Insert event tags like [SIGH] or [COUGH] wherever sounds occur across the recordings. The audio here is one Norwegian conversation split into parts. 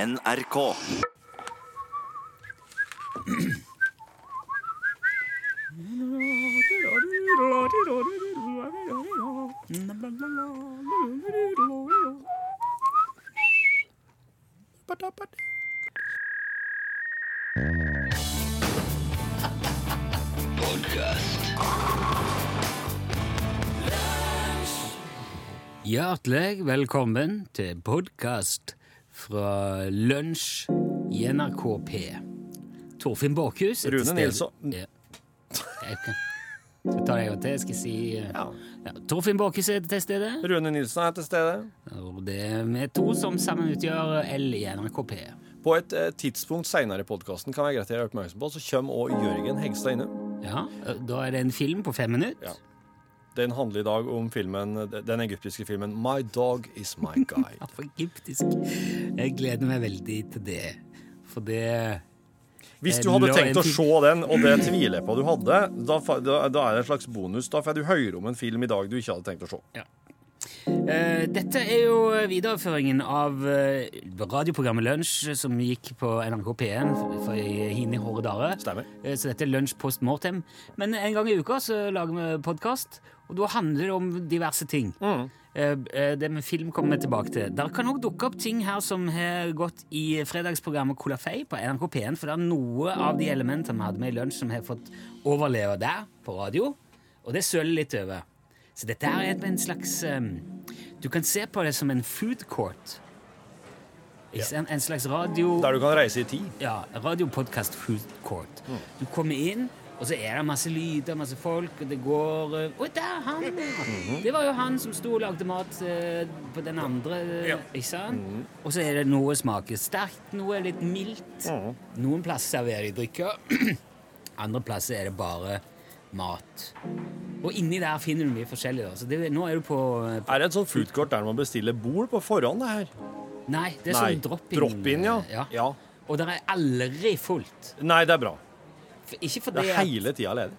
NRK. Hjertelig velkommen til podkast fra lunsj i NRK P. Torfinn Borkhus er til Rune stede. Nilsson. Ja. Jeg kan- Skal ta det en gang til. Jeg skal si eh, ja. Torfinn Borkhus er til stede. Rune Nilsen er til stede. Og det er vi to som sammen utgjør L i NRK P. På et eh, tidspunkt seinere i podkasten kan være greit å gjøre oppmerksom på, så kommer òg Jørgen Hegstad innom. Ja, Da er det en film på fem minutter. Ja. Den handler i dag om filmen, den egyptiske filmen My Dog Is My Guide. Ja, for egyptisk. Jeg gleder meg veldig til det. For det [LAUGHS] Hvis du Eh, hadde la tenkt en å tid- se den, og det tviler jeg på du hadde, da, fa- da, da er det en slags bonus. Da får du høre om en film i dag du ikke hadde tenkt å se. Eh, dette er jo videreføringen av eh, radioprogrammet Lunsj, som gikk på NRK P1 for- for i Hini Håredare. Stemmer. Eh, så dette er Lunsj post mortem. Men en gang i uka så lager vi podkast, og da handler det om diverse ting. Eh, eh, det med film kommer vi tilbake til. Der kan òg dukke opp ting her som har gått i fredagsprogrammet Colafei på NRK P1, for det er noe av de elementene vi hadde med i lunsj, som har fått overleve der på radio, og det søler litt over. Så dette her er en slags eh, Du kan se på det som en food court. Ikke sant? En slags radio... Der du kan reise i tid. Ja, radiopodcast Food Court. Mm. Du kommer inn, og så er det masse lyder, masse folk, og det går eh, Å, der er han! ja. Mhm. Det var jo han som sto og lagde mat eh, på den andre, eh, ikke sant? Mhm. Og så er det noe smaker sterkt, noe er litt mildt. Mhm. Noen plasser serverer de drikke, [CLEARS THROAT] andre plasser er det bare mat. Og inni der finner du mye forskjellig. da. Så det, nå er du på eh, Er det et sånt foodcourt der man bestiller bord på forhånd? det her? Nei, det er sånn drop-in. Drop-in, ja. eh, ja. ja. Og det er aldri fullt. Nei, det er bra. For- Ikke fordi Det er at- hele tida ledig.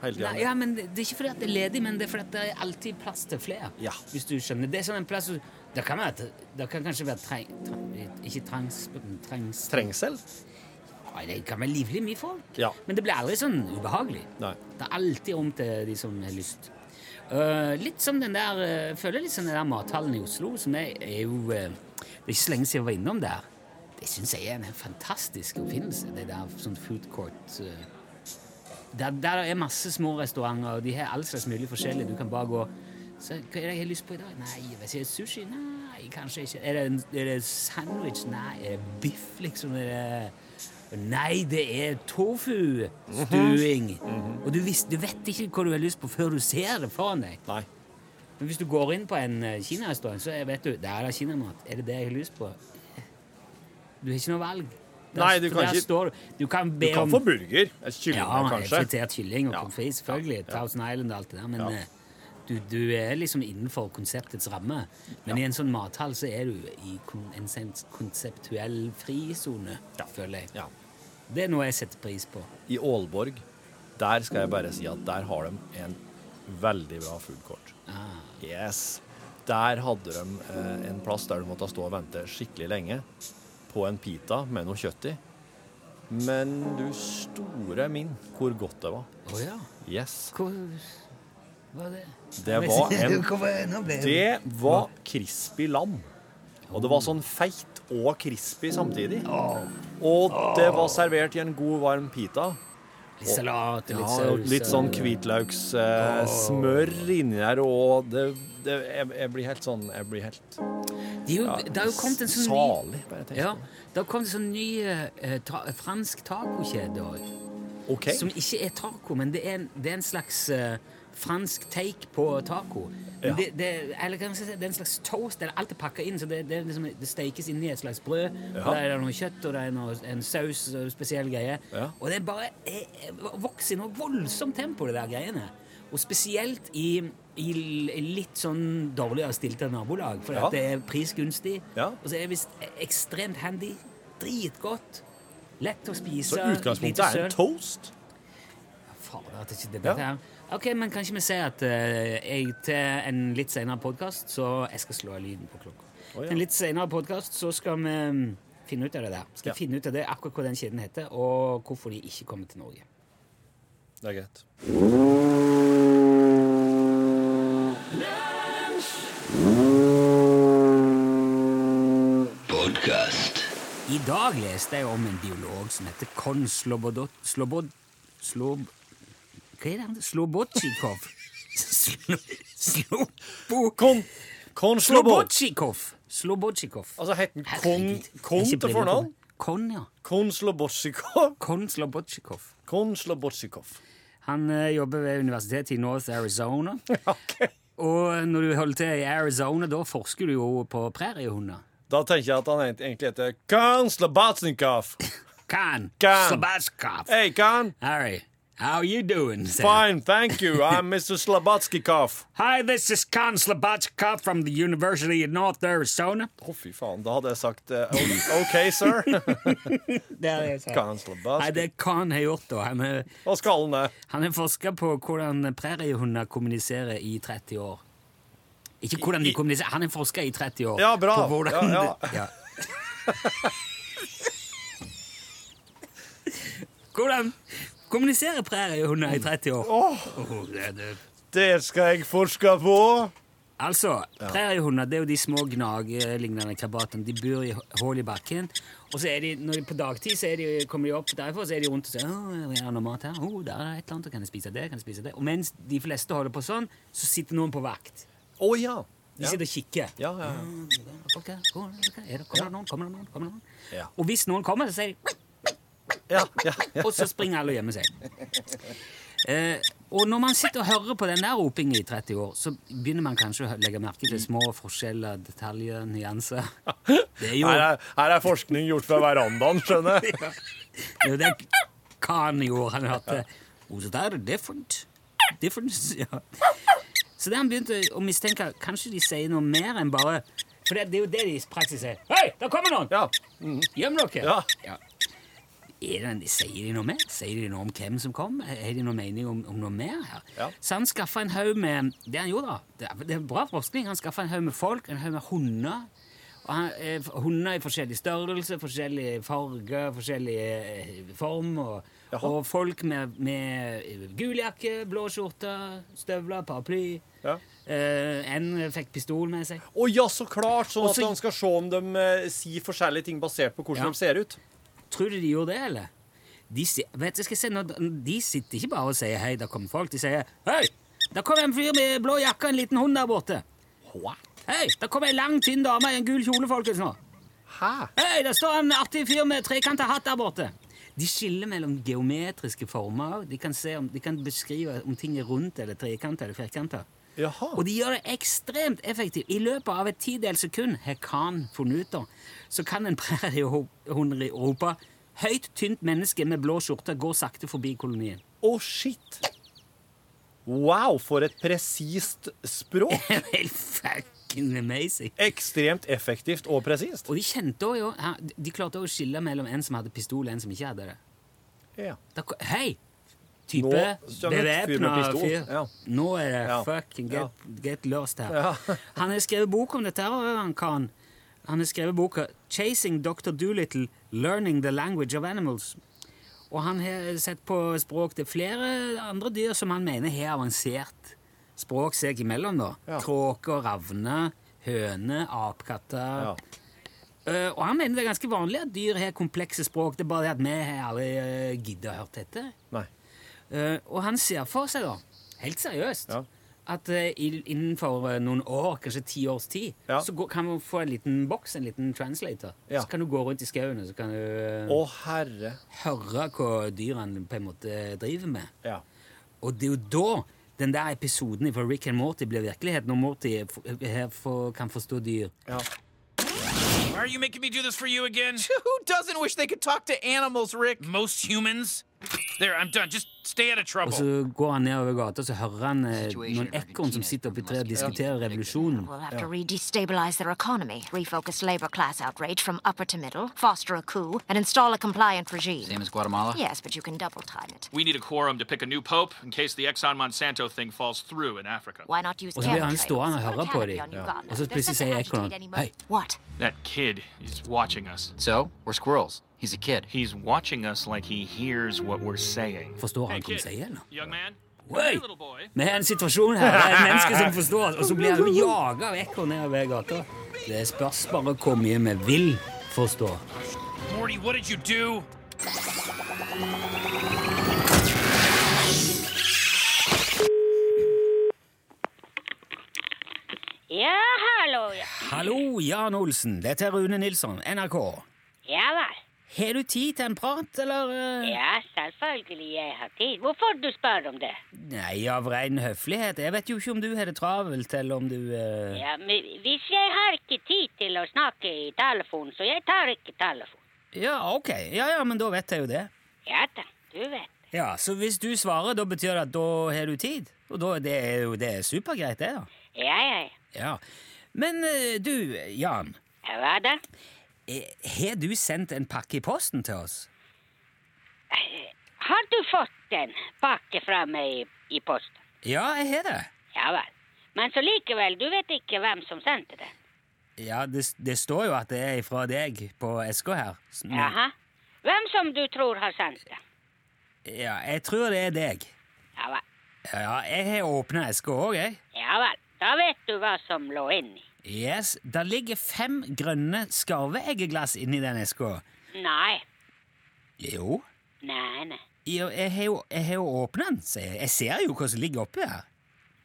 Hele tida Nei, ja, men det, det er ikke fordi at det er ledig, men det er fordi at det er alltid plass til flere. Ja. Hvis du skjønner. Det er sånn en plass hvor- Det kan, være, at- det kan kanskje være treng... treng ikke trangs... men trangs Trengsel? Nei, det kan være livlig mye folk. Ja. Men det blir aldri sånn ubehagelig. Nei. Det er alltid rom til de som har lyst. Eh, litt som den der eh, Føler litt som den der mathallen i Oslo, som er, er jo eh, Det er ikke så lenge siden jeg var innom der. Det syns jeg er en fantastisk oppfinnelse, det der sånn food court. eh. der, der er masse små restauranter, og de har all slags mulig forskjellig. Du kan bare gå så, Hva er det jeg har lyst på i dag? Nei, jeg vet ikke. Sushi? Nei, kanskje ikke. Er det, en, er det sandwich? Nei. Er det biff, liksom? Er det Nei, det er tofu-stuing. Mhm. Og du, vis, du vet ikke hva du har lyst på før du ser det foran deg. Nei. Men hvis du går inn på en eh, kinarestaurant, så er- vet du der er det kinamat. Er det det jeg har lyst på? Du har ikke noe valg. Der, Nei, du for kan der ikke- Står, du. du kan be Du kan om få burger. Et Kylling, ja, kanskje. fritert kylling og Ja. pommes frites, selvfølgelig. Thousand Island og alt det der. Men Ja. eh, du, du er liksom innenfor konseptets ramme. Men i en sånn mathall så er du i kon en sen- konseptuell frisone, føler jeg. Ja. Det er noe jeg setter pris på. I Aalborg, der skal jeg bare si at der har de en veldig bra foodcourt. Yes. Der hadde de eh, en plass der du måtte stå og vente skikkelig lenge på en pita med noe kjøtt i. Men du store min, hvor godt det var. Å ja. Yes. Hvor var det? Det var en Nå ble jeg- Det var crispy lam. Og det var sånn feit og crispy samtidig. Og det var servert i en god, varm pita. Litt salat og Ja, litt og saus. litt sånn og- hvitløkssmør eh, smør inni der, og det, det jeg, jeg blir helt sånn Jeg blir helt Det er jo, ja, det har jo kommet en sånn ny Salig, bare tenk ja, på det. det har kommet en sånn ny eh, ta, fransk tacokjede òg. OK. Som ikke er taco, men det er en, det er en slags eh, fransk take på taco. Men Ja. Det, det, eller kan jeg si, det er en slags toast. Eller alt er pakka inn, så det, det, er liksom, det stekes inni et slags brød. Og Ja. der er det noe kjøtt, og det er noe, en saus og spesiell greie. Ja. Og det er bare eh, eh, vokser i noe voldsomt tempo, det der greiene. Og spesielt i, i l- litt sånn dårligere stilte nabolag, for Ja. at det er prisgunstig. Ja. Og så er det visst eh, ekstremt handy. Dritgodt. Lett å spise. Så utgangspunktet lite er søl. en toast? Fader, at ikke det Ja. dette her. Ok, men kanskje vi sier at eh, jeg til en litt senere podkast, så jeg skal slå av lyden på klokka. Å, ja. Til en litt senere podkast så skal vi mm, finne ut av det der. Skal Ja. finne ut av det akkurat hva den kjeden heter, og hvorfor de ikke kommer til Norge. Det er greit. Podcast. I dag leste jeg om en biolog som heter Kon Slobodot... Slobod... Slob... Hva er det han heter? [LAUGHS] Slobodtsjikov? Slo... Slobo... Kon... Kon Slobod. Slobodtsjikov! Slobodtsjikov. Altså, het den Kon, Herregud, jeg er kon ikke til blind på fornavn? det. Kon, ja. Kon Slobotsikov. Kon Slobodtsjikov. Kon [LAUGHS] Slobotsikov. Han eh, jobber ved universitetet i North Arizona. [LAUGHS] Og eh, når du holder til i Arizona, da forsker du jo på præriehunder. Da tenker jeg at han egentlig- egentlig heter Kon Slobotsikov. Kan! Kan. Slobodskov! Hey, Kon. Harry, how you doing? sier han. Fine, thank you. I'm Mr. Slobotsikov. Hi, this is Kan Slobodskov from the University of North Arizona. Å, fy faen. Da hadde jeg sagt eh, o- OK, [LAUGHS] sir. Det er det jeg sa. Kon Nei, Slobotsikov. det er Kan har gjort, da. Han er- Hva skal han det? han har forska på hvordan præriehunder kommuniserer i 30 år. Ikke hvordan de kommuniserer, han har forska i 30 år. Ja, bra. På hvordan Ja, ja. det- ja. Hvordan kommuniserer præriehunder i 30 år? Åh, det, det. Det skal jeg forske på. Altså, præriehunder det er jo de små gnagelignende krabatene. De bor i hull i bakken. Og så er de, når de på dagtid så er de, kommer de opp derfra, så er de rundt og sier «Åh, er det noe mat her? Åh, der er et eller annet, kan jeg spise det? Kan jeg spise det? Og mens de fleste holder på sånn, så sitter noen på vakt. Å ja. De sitter og kikker. Ja, ja, ja. Ok, hvor er det? Er det- Kommer det noen? Kommer det noen? Kommer det noen? Ja. Og hvis noen kommer, så sier de ja, ja, ja. og så springer alle og gjemmer seg. Eh, og når man sitter og hører på den der ropingen i 30 år, så begynner man kanskje å legge merke til små forskjeller, detaljer, nyanser. Det er jo Her det, er, her er forskning gjort fra verandaen, skjønner [LAUGHS] jeg. er jo det Khan gjorde. Han hørte Was that different? Difference, ja. Så da han begynte å mistenke Kanskje de sier noe mer enn bare For det, det er jo det de i praksis sier. Hei, der kommer noen! Ja. Gjem dere! Ja. Er det, sier de noe mer? Sier de noe om hvem som kom? Har de noe mening om, om noe mer her? Ja. Så han skaffa en haug med Det han gjorde, da. Det er, det er bra forskning. Han skaffa en haug med folk, en haug med hunder. Og han, eh, f- hunder i forskjellig størrelse, forskjellig farge, forskjellig eh, form. Og, Jaha. og folk med, med eh, gul jakke, blå skjorte, støvler, paraply. Ja. Eh, en fikk pistol med seg. Å ja, så klart! Sånn Også- at han skal se om de eh, sier forskjellige ting basert på hvordan Ja. de ser ut. Tror du de gjorde det, eller? De, si- vet du, skal jeg se, når, de sitter ikke bare og sier 'hei, der kommer folk'. De sier 'hei, der kom en fyr med blå jakke og en liten hund der borte'. Hei, der kom ei lang, tynn dame i en gul kjole, folkens. nå. Hæ? Hei, der står en artig fyr med trekanta hatt der borte. De skiller mellom geometriske former. De kan, se om, de kan beskrive om ting er rundt eller trekanta eller firkanta. Jaha. Og de gjør det ekstremt effektivt. I løpet av et tidels sekund har Khan funnet ut da, så kan en præriehund rope Høyt, tynt menneske med blå skjorte går sakte forbi kolonien. [LAUGHS] Å, shit! Wow, for et presist språk! [LAUGHS] Helt fucking amazing. Ekstremt effektivt og presist. Og de kjente også jo ja, De klarte også å skille mellom en som hadde pistol, og en som ikke hadde det. Ja. Da, ko- hei! Type Nå kommer et fyr med bevæpna pistol. fyr. Ja. Nå er det Ja. fucking get, get lost her. Ja. [LAUGHS] Han har skrevet bok om dette, her, og han kan. Han har skrevet boka 'Chasing Dr. Doolittle Learning the Language of Animals'. Og han har sett på språk til flere andre dyr som han mener har avansert språk seg imellom. da. Ja. Kråker, ravner, høner, apekatter. Ja. Eh, og han mener det er ganske vanlig at dyr har komplekse språk. Det er bare det at vi har aldri uh, giddet å høre etter. Nei. Eh, og han ser for seg, da, helt seriøst, Ja. at eh, i- innenfor eh, noen år, kanskje ti års tid, Ja. så går, kan man få en liten boks, en liten translator. Ja. Så kan du gå rundt i skauen og så kan du eh, Å, herre. høre hva dyrene på en måte driver med. Ja. Og det er jo da den der episoden fra Rick and Morty blir virkelighet, når Morty f- her for, kan forstå dyr. ja. Why are you [LAUGHS] making me do this for you again? Who doesn't wish they could talk to animals, Rick? Most humans. There, I'm done. Just stay out of trouble. Og så går han nedover gata og så hører han eh, noen ekorn som sitter oppi treet og diskuterer revolusjonen. We'll have to re destabilize their economy, refocus labor class outrage from upper to middle, foster a coup, and install a compliant regime. Same as Guatemala? Yes, but you can double time it. We need a quorum to pick a new pope in case the Exxon Monsanto thing falls through in Africa. Why not use Og så blir han chemtrails? stående Put og a høre på canopy dem. on Uganda. Og så There's nothing plutselig sier agitated ekornen anymore. Hei, What? That kid is watching us. So, we're squirrels. He's a kid. He's watching us like he hears what we're saying. forstår Hey, han hva kid. du sier, eller? Young man. Oi! Hey, little boy. Vi har en situasjon her. Det er et menneske som forstår oss, og så blir han jaga av ekorn nedover gata. Det spørs bare hvor mye vi vil forstå. Morty, what did you do? Ja, hallo, ja. Hallo, Jan Olsen. Dette er Rune Nilsson, NRK. Ja vel. Har du tid til en prat, eller? eh? Ja, selvfølgelig jeg har tid. Hvorfor du spør om det? Nei, av ren høflighet. Jeg vet jo ikke om du har det travelt, eller om du eh, Ja, men hvis jeg har ikke tid til å snakke i telefon, så jeg tar ikke telefon. Ja, ok. Ja, ja, men da vet jeg jo det. Ja da, du vet. Ja, Så hvis du svarer, da betyr det at da har du tid? Og da det er jo det er supergreit, det, da. Ja, ja, ja. Ja. Men eh, du, Jan. Ja, Hva da? eh, Har du sendt en pakke i posten til oss? Har du fått den pakke fra meg i, i posten? Ja, jeg har det. Ja vel. Men så likevel, du vet ikke hvem som sendte den. Ja, det, det står jo at det er fra deg på SK her. Så- Jaha. Hvem som du tror har sendt den? Ja, jeg tror det er deg. Ja vel. Ja, jeg har åpna SK òg, jeg. Ja vel. Da vet du hva som lå inni. Yes, Der ligger fem grønne skarveeggeglass inni den eska. Nei. Jo. Nei, nei. Jo, Jeg har jo, jeg har jo åpna den, sier jeg. Jeg ser jo hva som ligger oppi her.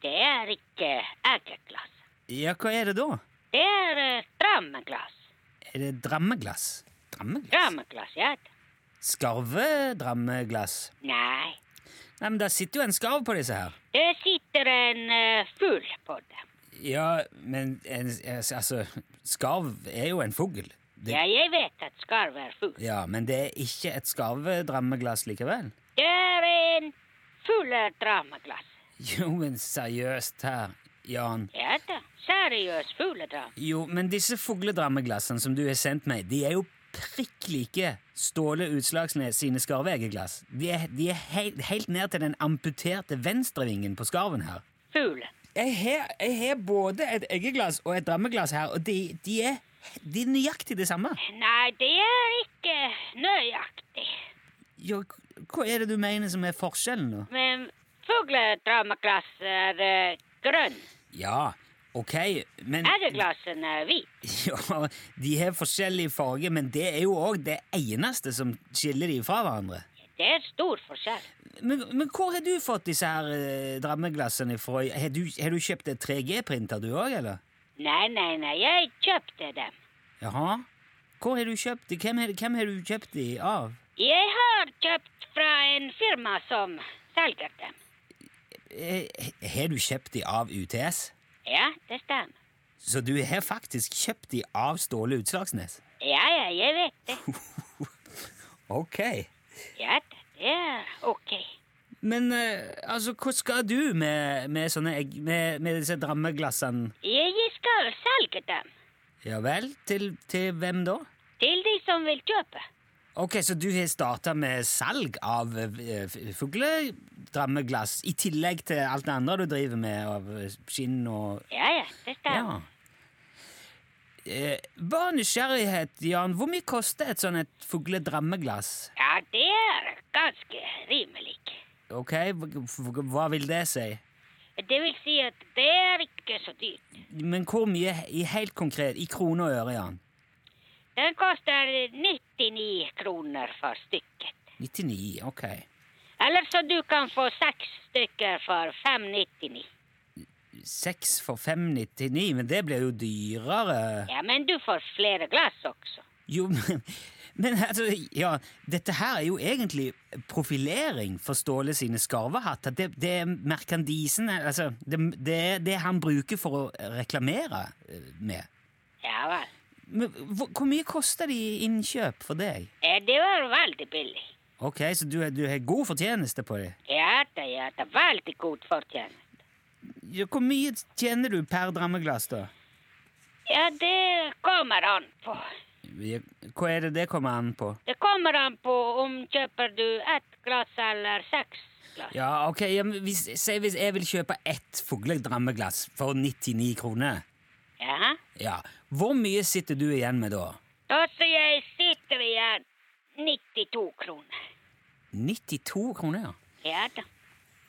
Det er ikke eggeglass. Ja, hva er det da? Det er eh, drammeglass. Er det drammeglass? Drammeglass? Drammeglass, ja. Skarvedrammeglass? Nei, Nei, men der sitter jo en skarv på disse her. det sitter en eh, fugl på det. Ja, men en, altså Skarv er jo en fugl. Det- Ja, jeg vet at skarv er fugl. Ja, men det er ikke et skarvedrammeglass likevel. Det er en fugledrammeglass. Jo, men seriøst her, Jan. Ja da, seriøs fugledram. Jo, men disse fugledrammeglassene som du har sendt meg, de er jo prikk like Ståle Utslagsnes sine skarveeggeglass. De er, de er hei- helt ned til den amputerte venstrevingen på skarven her. Fugl. Jeg har, jeg har både et eggeglass og et drammeglass her, og de, de, er, de er nøyaktig det samme. Nei, det er ikke nøyaktig. Jo, hva er det du mener som er forskjellen nå? Men fugledrammeglass er eh, grønn. Ja, ok, men Eggeglassen er hvit. [LAUGHS] ja, De har forskjellig farge, men det er jo òg det eneste som skiller de fra hverandre. Det er stor forskjell. Men, men hvor har du fått disse her eh, drammeglassene fra? Har du, har du kjøpt et 3G-printer du òg, eller? Nei, nei, nei, jeg kjøpte dem. Jaha? Hvor har du kjøpt de? Hvem, har- hvem har du kjøpt de av? Jeg har kjøpt fra en firma som selger dem. Eh, Har du kjøpt de av UTS? Ja, det stemmer. Så du har faktisk kjøpt de av Ståle Utslagsnes? Ja, ja, jeg vet det. Ok. Ja, da, det er ok. Men eh, altså, hva skal du med, med, sånne egg, med, med disse drammeglassene? Jeg skal selge dem Ja vel? Til, til hvem da? til de som vil kjøpe. Ok, Så du har starta med salg av eh, f- fugledrammeglass i tillegg til alt det andre du driver med av eh, skinn og Ja, ja, det stemmer. Ja. Eh, bare nysgjerrighet, Jan. Hvor mye koster et sånt et fugledrammeglass? Ja, det er ganske rimelig. Ok, hva- hva- Hva vil det si? Det vil si at det er ikke så dyrt. Men hvor mye i helt konkret? I kroner og øre, Jan? Den koster 99 kroner for stykket. 99, ok. Eller så du kan få seks stykker for 599. 6 for 599, men det blir jo dyrere. Ja, men du får flere glass også. Jo, men, men altså, ja, dette her er jo egentlig profilering for Ståle sine skarvehatter. Det, det er merkandisen altså, det, det er det han bruker for å reklamere eh, med. Ja vel. Men hvor, hvor mye koster de i innkjøp for deg? Eh, Det var veldig billig. Ok, så du, du har god fortjeneste på det. Ja da, ja da. Veldig god fortjeneste. Ja, Hvor mye tjener du per drammeglass, da? Ja, det kommer an på. Ja, Hva er det det kommer an på? Det kommer an på om kjøper du ett glass eller seks glass. Ja, ok, ja, men hvis, Si hvis jeg vil kjøpe ett fugledrammeglass for 99 kroner. Ja. Ja, Hvor mye sitter du igjen med da? Da sier jeg sitter igjen 92 kroner. 92 kroner, ja. Ja da.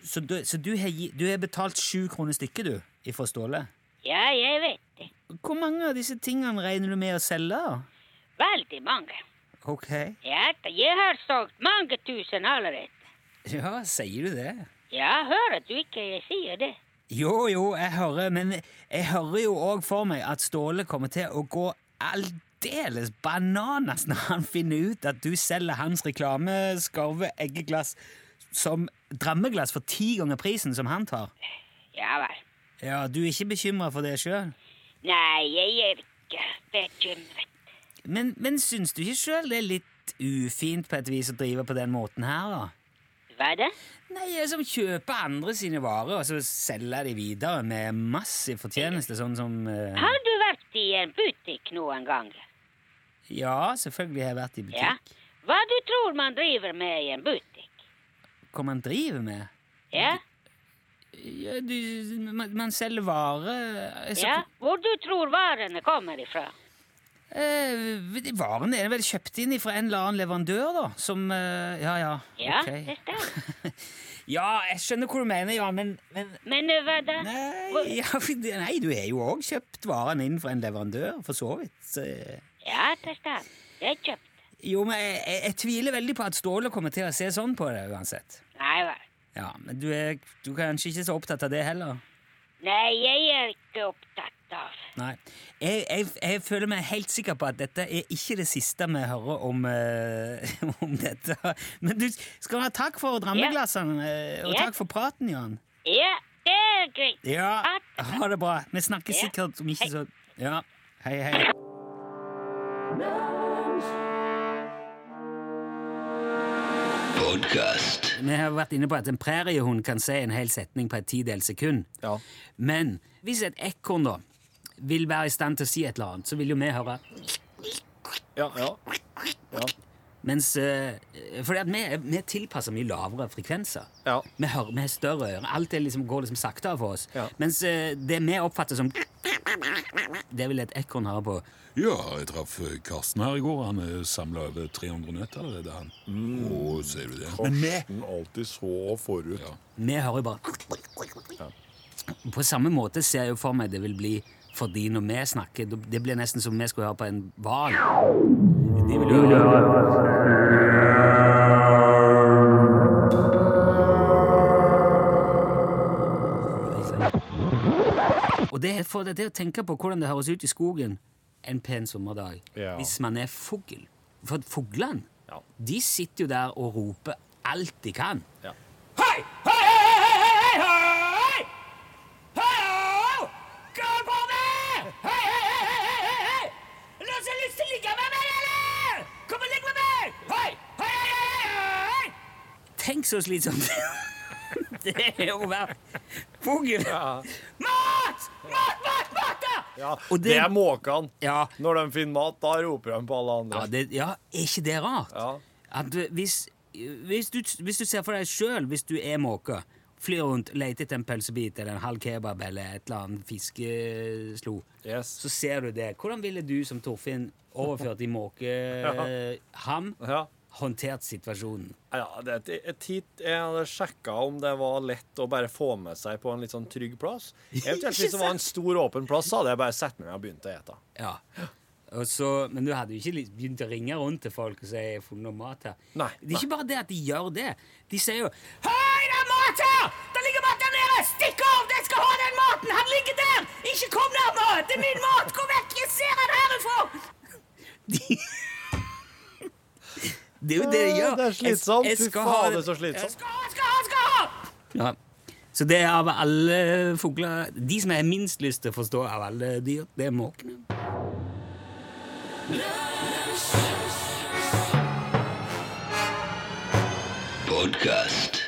Så du, så du, har, gi- du har betalt sju kroner stykket, du, ifra Ståle? Ja, jeg vet det. Hvor mange av disse tingene regner du med å selge? da? Veldig mange. Ok. Ja da, jeg har solgt mange tusen allerede. Ja, sier du det? Ja, hører du ikke jeg sier det? Jo, jo, jeg hører, men jeg hører jo òg for meg at Ståle kommer til å gå aldeles bananas når han finner ut at du selger hans reklameskarve eggeglass som drammeglass for ti ganger prisen som han tar. Ja vel. Ja, du er ikke bekymra for det sjøl? Nei, jeg er ikke bekymret. Men, men syns du ikke sjøl det er litt ufint på et vis å drive på den måten her, da? Hva da? Nei, jeg som kjøper andre sine varer, og så selger de videre med massiv fortjeneste, sånn som eh, Har du vært i en butikk noen gang? Ja, selvfølgelig har jeg vært i butikk. Ja. Hva du tror man driver med i en butikk? hva man driver med. Ja? Ja, du, man, man selger varer altså, ja? Hvor du tror varene kommer ifra? eh, Varene er vel kjøpt inn fra en eller annen leverandør, da? Som eh, Ja, ja. Ja, ok. det stemmer. ja, jeg skjønner hva du mener, ja, men, men Men eh, hva da? nei, ja, nei, du har jo òg kjøpt varene inn fra en leverandør, for så vidt. Så, eh, Ja, det stemmer. Det er kjøpt. jo, men jeg, jeg, jeg tviler veldig på at Ståle kommer til å se sånn på det uansett. Nei vel. Ja, Men du er, du er kanskje ikke så opptatt av det heller? Nei, jeg er ikke opptatt av Nei. Jeg, jeg, jeg føler meg helt sikker på at dette er ikke det siste vi hører om, eh, [LAUGHS] om dette. Men du skal ha takk for drammeglassene, eh, og Ja. takk for praten, Jan. Ja, det er greit. Ja, Ha det. Ha det bra. Vi snakkes Ja. sikkert om ikke Hei. så Ja, hei, hei. Vi har vært inne på at en præriehund kan si en hel setning på et tidels sekund. Ja. Men hvis et ekorn da vil være i stand til å si et eller annet, så vil jo vi høre Ja, ja. Ja. Mens, eh, fordi at vi, vi tilpasser mye lavere frekvenser. Ja. Vi hører, vi har større ører. Alt det liksom, går liksom saktere for oss. Ja. Mens eh, det vi oppfatter som Det vil et ekorn høre på. Ja, jeg traff eh, Karsten her i går. Han samla over 300 nøtt allerede, han. Mm. Å, ser du det? Karsten alltid så forut. Vi hører bare På samme måte ser jeg jo for meg det vil bli fordi når vi snakker da- Det blir nesten som om vi skulle høre på en hval. De vil jo høre Og det får deg til å tenke på hvordan det høres ut i skogen en pen sommerdag Ja. hvis man er fugl. For fuglene, Ja. de sitter jo der og roper alt de kan. Ja. Hei! Hei, hei, hei, hei, hei, hei! Hallo! Kom på meg! Hei, hei, hei, hei, hei, hei, hei! Noen som har lyst til å ligge med meg, eller? Kom og ligg med meg! Hei! Hei, hei, hei, hei, hei! Tenk så slitsomt. [LAUGHS] det er jo hver fugl. Mat! Mat, mat, mat! da! ja. Og Det er måkene. Ja. Når de finner mat, da roper de på alle andre. Ja, det, ja, er ikke det rart? Ja. At du, hvis, hvis, du, hvis du ser for deg sjøl, hvis du er måke, flyr rundt, leter etter en pølsebit eller en halv kebab eller et eller annet fiskeslo, Yes. så ser du det. Hvordan ville du som Torfinn, overført i [LAUGHS] måkeham, Ja. håndtert situasjonen? Ja, det, et hit, jeg hadde sjekka om det var lett å bare få med seg på en litt sånn trygg [LAUGHS] plass. Eventuelt hvis det var en stor, åpen plass, så hadde jeg bare satt meg ned og begynt å ete. Ja. Og så, men du hadde jo ikke li- begynt å ringe rundt til folk og si 'jeg har funnet noe mat her'. Nei, Det er ikke bare det at de gjør det. De sier jo 'Hei, det er mat her! Det ligger mat der nede! Stikk av! Den skal ha den maten! Han ligger der! Ikke kom nærmere! Det er min mat! Gå vekk! Jeg ser han herifra!' De... [LAUGHS] Det er jo det de gjør. Åh, det er slitsomt. Jeg- jeg Fy skal faen, ha det er så slitsomt. Jeg skal ha, skal ha, skal ha! Ja. Så det er av alle fugler De som jeg har minst lyst til å forstå av alle dyr, det er måkene.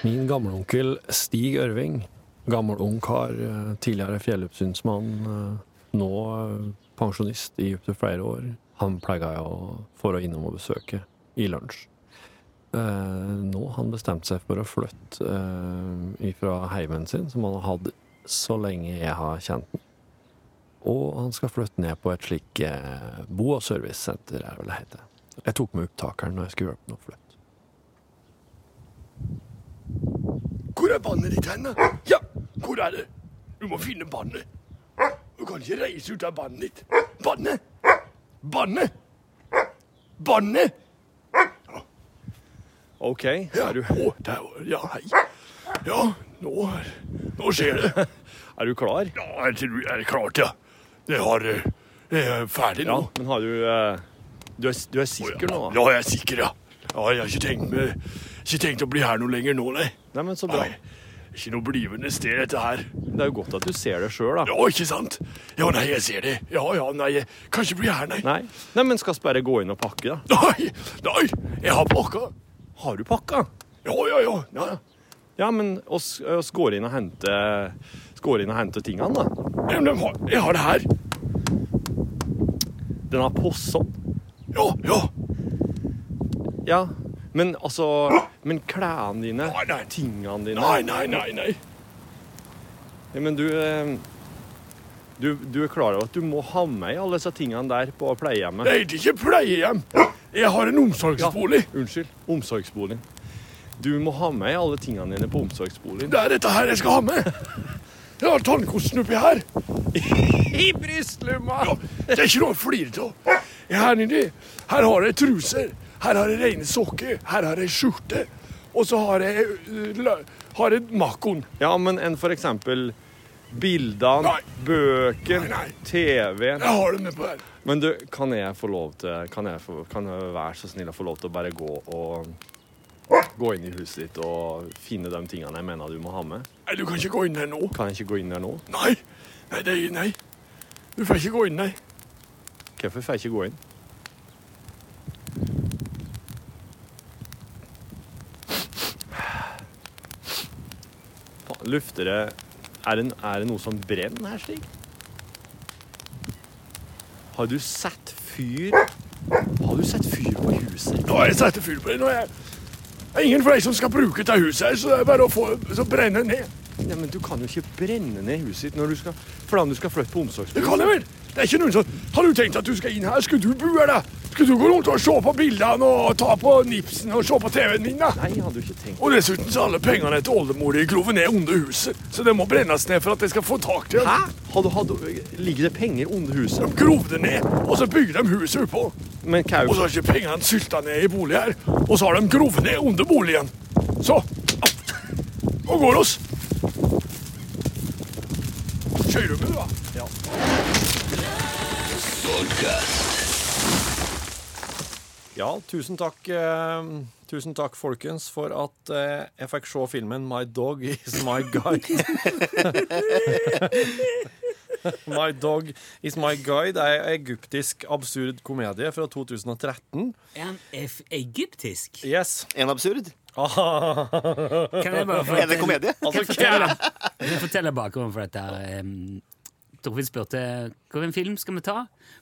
Min gamleonkel Stig Ørving, gammel ungkar, eh, tidligere fjelloppsynsmann, eh, nå eh, pensjonist i opptil flere år, han pleier jeg å få innom og besøke i lunsj. Eh, Nå har han bestemt seg for å flytte eh, fra heimen sin, som han har hatt så lenge jeg har kjent den. Og han skal flytte ned på et slik eh, bo- og servicesenter, er det vel det heter. Jeg tok med opptakeren når jeg skulle hjelpe ham å flytte. Hvor er vannet ditt hen? da? Ja, hvor er det? Du må finne vannet. Du kan ikke reise ut av vannet ditt. Vannet! Vannet! Vannet! OK, er du Å, der var Ja, hei. Ja, nå, nå skjer det. [LAUGHS] Er du klar? Ja, jeg tror jeg er klar til det. Jeg har eh, Jeg er ferdig nå. Ja, men har du eh, Du er, du er sikker nå? Ja, jeg er sikker, ja. ja jeg har ikke tenkt, meg- ikke tenkt å bli her noe lenger nå, nei. Nei, men så bra. Ikke noe blivende sted, dette her. Det er jo godt at du ser det sjøl, da. Ja, ikke sant? Ja, nei, jeg ser det. Ja, ja, nei, jeg kan ikke bli her, nei. Nei. Nei, men skal vi bare gå inn og pakke, da? Nei, nei, jeg har pakka. Har du pakka? Ja, ja, ja. ja. Ja, men oss, oss går inn og henter oss går inn og henter tingene, da. Ja, men jeg har- jeg har det her. Den har posson. Ja, ja. Ja. Men altså Men klærne dine, tingene dine Nei, nei, nei, nei. Ja, men du, eh, du Du er klar over at du må ha med alle disse tingene der på pleiehjemmet? Nei, det er ikke pleiehjem. Jeg har en omsorgsbolig. Ja, unnskyld. Omsorgsboligen. Du må ha med alle tingene dine på omsorgsboligen. Det er dette her jeg skal ha med. Jeg har tannkosten oppi her. I brystlomma! Ja, det er ikke noe å flire av. Her nedi, her har jeg truser. Her har jeg rene sokker. Her har jeg skjorte. Og så har jeg, eh, lø- har jeg makkoen. Ja, men enn for eksempel bildene, Nei. bøkene, Nei, nei. TV-en Jeg har det med på her. Men du, kan jeg få lov til Kan jeg, få, kan jeg være så snill å få lov til å bare gå og Gå inn i huset ditt og finne de tingene jeg mener du må ha med? Nei, du kan ikke gå inn her nå. Kan jeg ikke gå inn der nå? Nei, nei, det, er- nei. Du får ikke gå inn, nei. Hvorfor får jeg ikke gå inn? Faen, Lufter det er, det- er det noe som brenner her, Stig? Har du sett fyr Har du sett fyr på huset? Nå har jeg satt fyr på det. Nå er jeg... Det er ingen flere som skal bruke dette huset, her, så det er bare å få så brenne det ned. Ja, men Du kan jo ikke brenne ned huset ditt når du skal, fordi om du skal flytte på omsorgsbolig. Det kan jeg vel? Det er ikke noen som... Har du tenkt at du skal inn her? Skulle du bo her, da? Skulle du gå rundt og se på bildene og ta på nipsen og se på TV-en min, da? Nei, jeg hadde jo ikke tenkt Og dessuten så er alle pengene til oldemor i kloven er under huset, så det må brennes ned for at jeg skal få tak til dem. Hæ? Hadde, hadde, ligger det penger under huset? De grov det ned, og så bygger de huset oppå. Men hva er Og så har ikke pengene sylta ned i bolig her, og så har de grov ned under boligen. Så, nå går oss. Kjører du med, da? Ja, tusen takk, eh, tusen takk folkens, for at eh, jeg fikk se filmen My Dog Is My [LAUGHS] Guide. My Dog Is My Guide er en egyptisk absurd komedie fra 2013. Er han F egyptisk? Yes. En absurd? Kan jeg Er bare det fortelle, komedie? Altså, kan jeg fortelle bakgrunnen for dette? her? Em, Torfinn spurte hvilken film skal vi ta.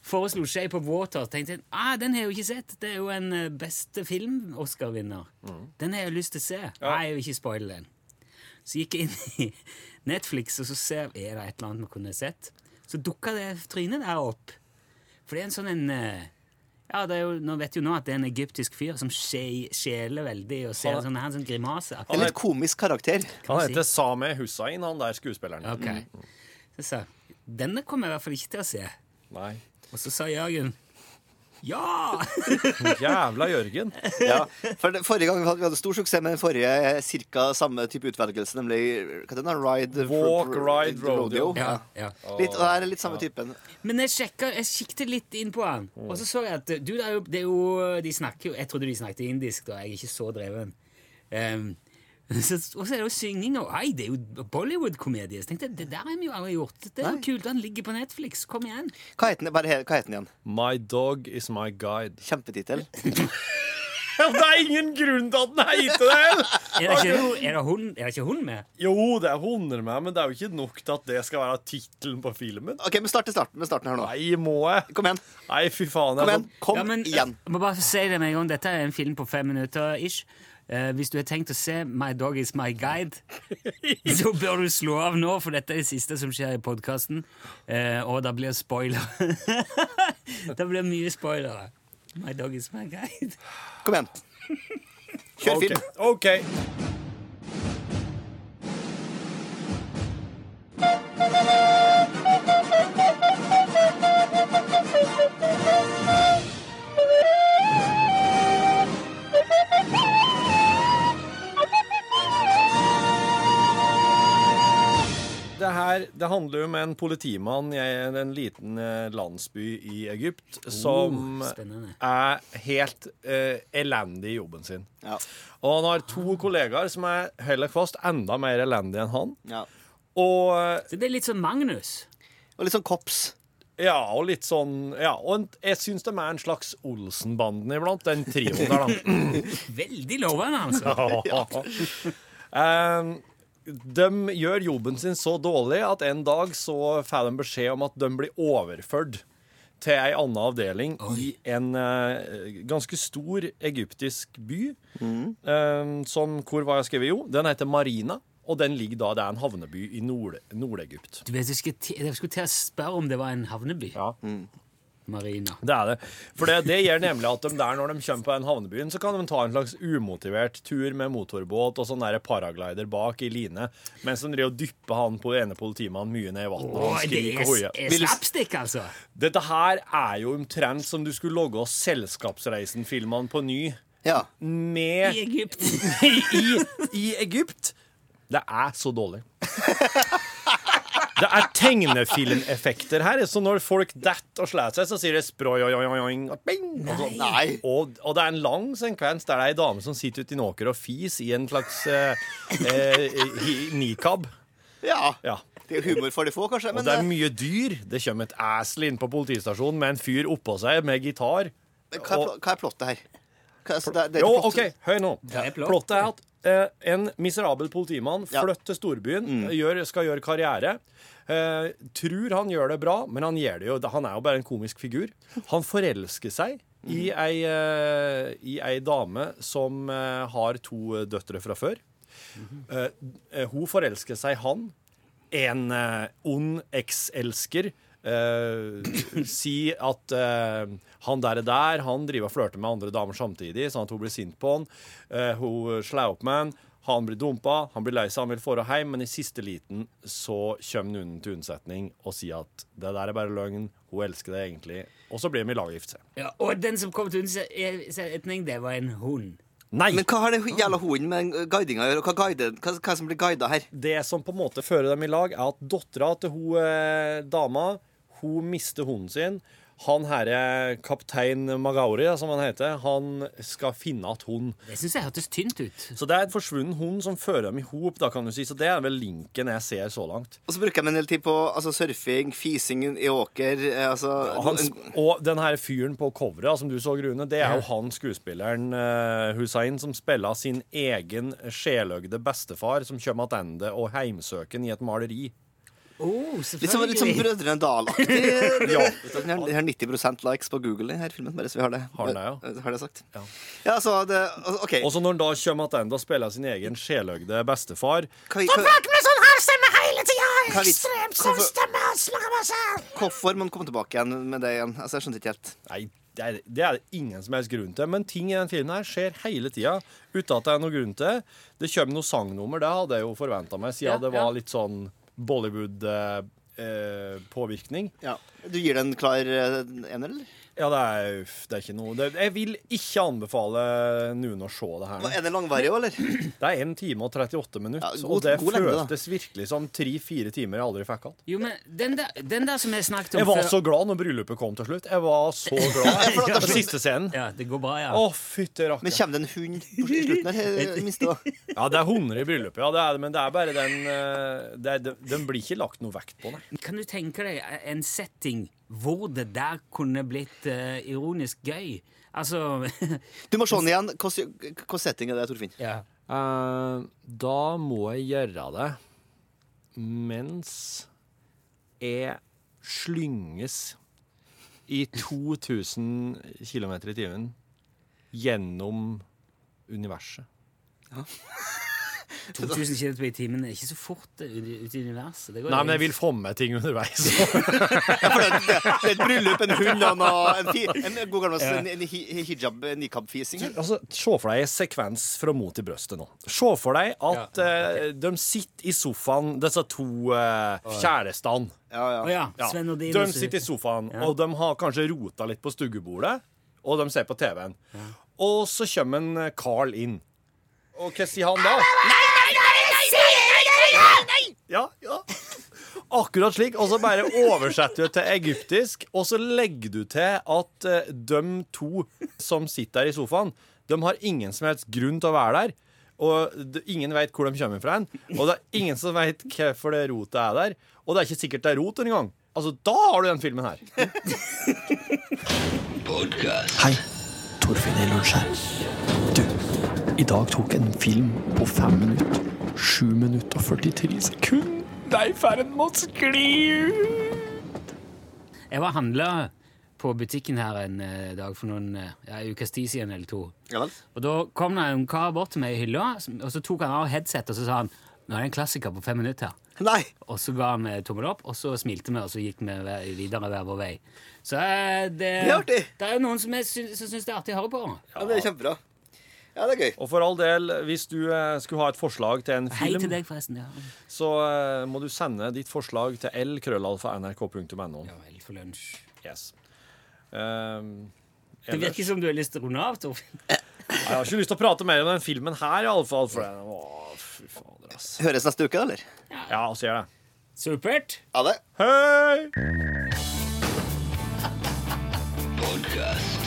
Foreslo Shape of Water. Tenkte jeg, ah, den har jeg jo ikke sett. Det er jo en eh, beste film-Oscar-vinner. Den har jeg lyst til å se. Nei, jeg vil ikke spoile den. Så gikk jeg inn i Netflix, og så ser jeg, er det et eller annet vi kunne sett. Så dukka det trynet der opp. For det er en sånn en eh, ja, det er jo, Nå vet jo nå at det er en egyptisk fyr som skje- skjeler veldig og Han ser en er- sånn, han er en sånn grimase. En litt komisk karakter. Han heter Sameh Hussain, han der skuespilleren. Ok. Så sa jeg, denne kommer jeg i hvert fall ikke til å se. Nei. Og så sa Jørgen ja! Jævla Jørgen. Ja, for det- Forrige gang vi hadde- vi hadde stor suksess med den forrige eh, cirka samme type utvelgelse, nemlig hva heter den da? Ride Walk, Ride, Rodeo. [LAUGHS] ja, ja. Litt, og her er litt samme typen. Men jeg sjekka, jeg kikket litt inn på han, og så så jeg at du, det er jo, det er jo, de snakker jo Jeg trodde de snakket indisk, da. Jeg er ikke så dreven. Ehm, [LAUGHS] så, og så er det jo synging og Nei, det er jo Bollywood-komedie. Så tenkte jeg, Det der har vi jo aldri gjort. Det er jo kult. Han ligger på Netflix. Kom igjen. Hva het den, bare he- hva het den igjen? My Dog Is My Guide. Kjempetittel. Det er ingen grunn til at den heter det! Er det ikke hun- er det hun- er det ikke hun med? Jo, det er hunder med, men det er jo ikke nok til at det skal være tittelen på filmen. OK, men start til starten, med starten her nå. Nei, må jeg? Kom igjen. Nei, fy faen. jeg sånn- Kom igjen. må- Kom Ja, men, igjen. Jeg må bare si det med en gang. Dette er en film på fem minutter ish. Eh, hvis du har tenkt å se My Dog Is My [LAUGHS] Guide, så bør du slå av nå, for dette er det siste som skjer i podkasten. og det blir spoiler. [LAUGHS] det blir mye spoilere. My dog is my guide. Kom igjen. [LAUGHS] Kjør Ok, film. OK. Det her det handler jo om en politimann i en liten eh, landsby i Egypt som Uh, spennende. er helt eh, elendig i jobben sin. Og han har to kollegaer som er heller fast enda mer elendige enn han. Og eh, Så det er litt sånn Magnus. Og litt sånn kops. Ja, og litt sånn Ja, og en, jeg syns de er en slags Olsenbanden iblant, den trioen der, da. Veldig lovende, altså. Ja. [LAUGHS] Ehm, de gjør jobben sin så dårlig at en dag så får de beskjed om at de blir overført til ei anna avdeling i en eh, ganske stor egyptisk by. ehm, som, hvor var jeg skrevet? Jo, den heter Marina. Og den ligger da, det er en havneby i Nord- Nord-Egypt. Du vet, jeg skulle, til- jeg skulle til å spørre om det var en havneby. Marina. Det er det. For det, det gjør nemlig at de der, når de kommer på den havnebyen, så kan de ta en slags umotivert tur med motorbåt og sånn der paraglider bak i line, mens de driver og dypper han på ene politimannen mye ned i vannet. og Åh, han det skriker er, og hoier. er slapstick, altså. Dette her er jo omtrent som du skulle logge oss Selskapsreisen-filmene på ny. Ja. Med I [LAUGHS] Egypt. I, I Egypt. Det er så dårlig. Det er tegnefilmeffekter her, så når folk detter og slår seg, så sier det sproi oi, oi, oi, oi, og bing, og, sånn. Nei. og, og det er en lang sekvens der det er ei dame som sitter ute i en åker og fis i en slags eh, eh, hi- nikab. Ja. Ja. Det er humor for de få, kanskje. Og Men det er eh, mye dyr. Det kommer et esel inn på politistasjonen med en fyr oppå seg med gitar. hva, er, og- pl- hva er plottet her? Hva, så det, er- det er Jo, ikke plott- OK, hør nå. er plott. Plottet er at eh, en miserabel politimann flytter til storbyen, eh, gjør, skal gjøre karriere. Eh, tror han gjør det bra, men han gjør det jo Han er jo bare en komisk figur. Han forelsker seg i, ei, eh, i ei dame som eh, har to døtre fra før. Eh, eh, hun forelsker seg i han. En eh, ond ekselsker. eh, si at eh, han der er der, han driver og flørter med andre damer samtidig, sånn at hun blir sint på han. Eh, hun slår opp med han. Han blir dumpa, han blir lei seg, han vil dra hjem, men i siste liten så kommer noen til unnsetning og sier at det der er bare løgn, hun elsker deg egentlig. Og så blir de i lag og gifter seg. Ja, og den som kom til unnsetning, det var en hund. Nei! Men hva har den jævla hunden med den guidinga å gjøre? og Hva, guider, hva, hva er det som blir guida her? det som på en måte fører dem i lag, er at dattera til hun eh, dama Hun mister hunden sin. Han herre kaptein Magauri, da, som han heter, han skal finne igjen hunden. Det syns jeg hørtes tynt ut. Så det er et forsvunnen hund som fører dem i hop, da, kan du si. Så det er vel linken jeg ser så langt. Og så bruker de en del tid på altså, surfing, fising i åker eh, altså, Han, sp- og den her fyren på coveret da, som du så, Grune, det er jo han skuespilleren eh, Hussein som spiller sin egen sjeløgde bestefar som kommer tilbake og heimsøker han i et maleri. Oh, Litt som, litt som selvfølgelig. Brødrene [LAUGHS] Dal-aktig. ja. Ja. Den har- den har 90 likes på Google, denne filmen. Bare så vi har det, Har den det, Har det sagt. Ja, så det, altså, OK. Og så når han da kommer tilbake og spiller sin egen sjeløgde bestefar Hva, hva, med sånn halvstemme hele tida! Hva er vits- Ekstremt sånn hvorfor- og slår meg selv! hvorfor må han komme tilbake igjen med det igjen? Altså, jeg skjønte ikke helt. Nei, det er det er det ingen som helst grunn til. Men ting i den filmen her skjer hele tida uten at det er noen grunn til. Det kommer noe sangnummer, det hadde jeg jo forventa meg, siden Ja, det ja. var litt sånn eh, Bollywood-påvirkning. Ja. Du gir den klar eh, ener, eller? ja, det er, det er ikke noe det, Jeg vil ikke anbefale noen å se det her. Hva, Er den langvarig òg, eller? Det er 1 time og 38 minutter, Ja, og god- det god lengde, da. føltes virkelig som tre-fire timer jeg aldri fikk igjen. Jo, men den der, den der som jeg snakket om Jeg var før- så glad når bryllupet kom til slutt. Jeg var [LAUGHS] så glad. Den siste scenen. Ja, det går bra, ja. Å, fytti Men rakker. kommer det en hund på sl- i slutten her? eh, i minste, da? Ja, det er hunder i bryllupet, ja, det er det, men det er bare den eh, det er, Den blir ikke lagt noe vekt på, nei. Kan du tenke deg en setting hvor det der kunne blitt eh, ironisk gøy? Altså [LAUGHS] Du må se den igjen. Hvilken setting er det, Torfinn? Eh, da må jeg gjøre det mens jeg slynges i 2000 km i timen gjennom universet. 2000 km i timen er ikke så fort eh, ut i ut i universet. Det går Nei, men jo- jeg vil få med ting underveis. [LAUGHS] Det er et bryllup, en hund og noe- en, fi, en god gammel Ja. en, en hi- hijab, en nikab-fising. her. Altså, Se for deg en sekvens fra mot til brøstet nå. Se for deg at eh, de sitter i sofaen, disse to eh, kjærestene. Å ja, Sven og De Dino sitter- sitter i sofaen, og de har kanskje rota litt på stuggebordet, og de ser på TV-en. Og så kommer en eh, Carl inn. Og hva sier han da? Ja, ja. Akkurat slik. Og så bare oversetter du til egyptisk, og så legger du til at eh, de to som sitter der i sofaen, de har ingen som helst grunn til å være der. Og d- ingen veit hvor de kommer fra, hen, og det er ingen som veit hvorfor det rotet er der. Og det er ikke sikkert det er rot engang. Altså, da har du den filmen her. Hei, Torfinn i lunsj her. Du, i dag tok en film på fem minutter. Sju minutter og 43 sekunder. Det er i ferd med å skli ut. Jeg var handla på butikken her en eh, dag for noen eh, ja, en ukes tid siden eller to. Og da kom det en kar bort til meg i hylla, som- og så tok han av headsetet og så sa han nå er det en klassiker på fem minutter. Nei. Og så ga han meg tommel opp, og så smilte vi, og så gikk vi ve- videre hver vår vei. Så eh, det, Det er artig. det er jo noen som er- syns- som syns det er artig å høre på. Ja, det er kjempebra. Ja, det er gøy. Og for all del, hvis du eh, skulle ha et forslag til en Hei film til deg, forresten. Ja. så eh, må du sende ditt forslag til lkrøllalfa.nrk.no. Ja, L for lunsj. Yes. Ehm, Det virker som du har lyst til å runde av, Torfinn. Jeg har ikke lyst til å prate mer om den filmen her, iallfall. For den var fy fader, ass. Høres neste uke, eller? Ja, vi gjør det. Supert. Ha det. Hei! Podcast.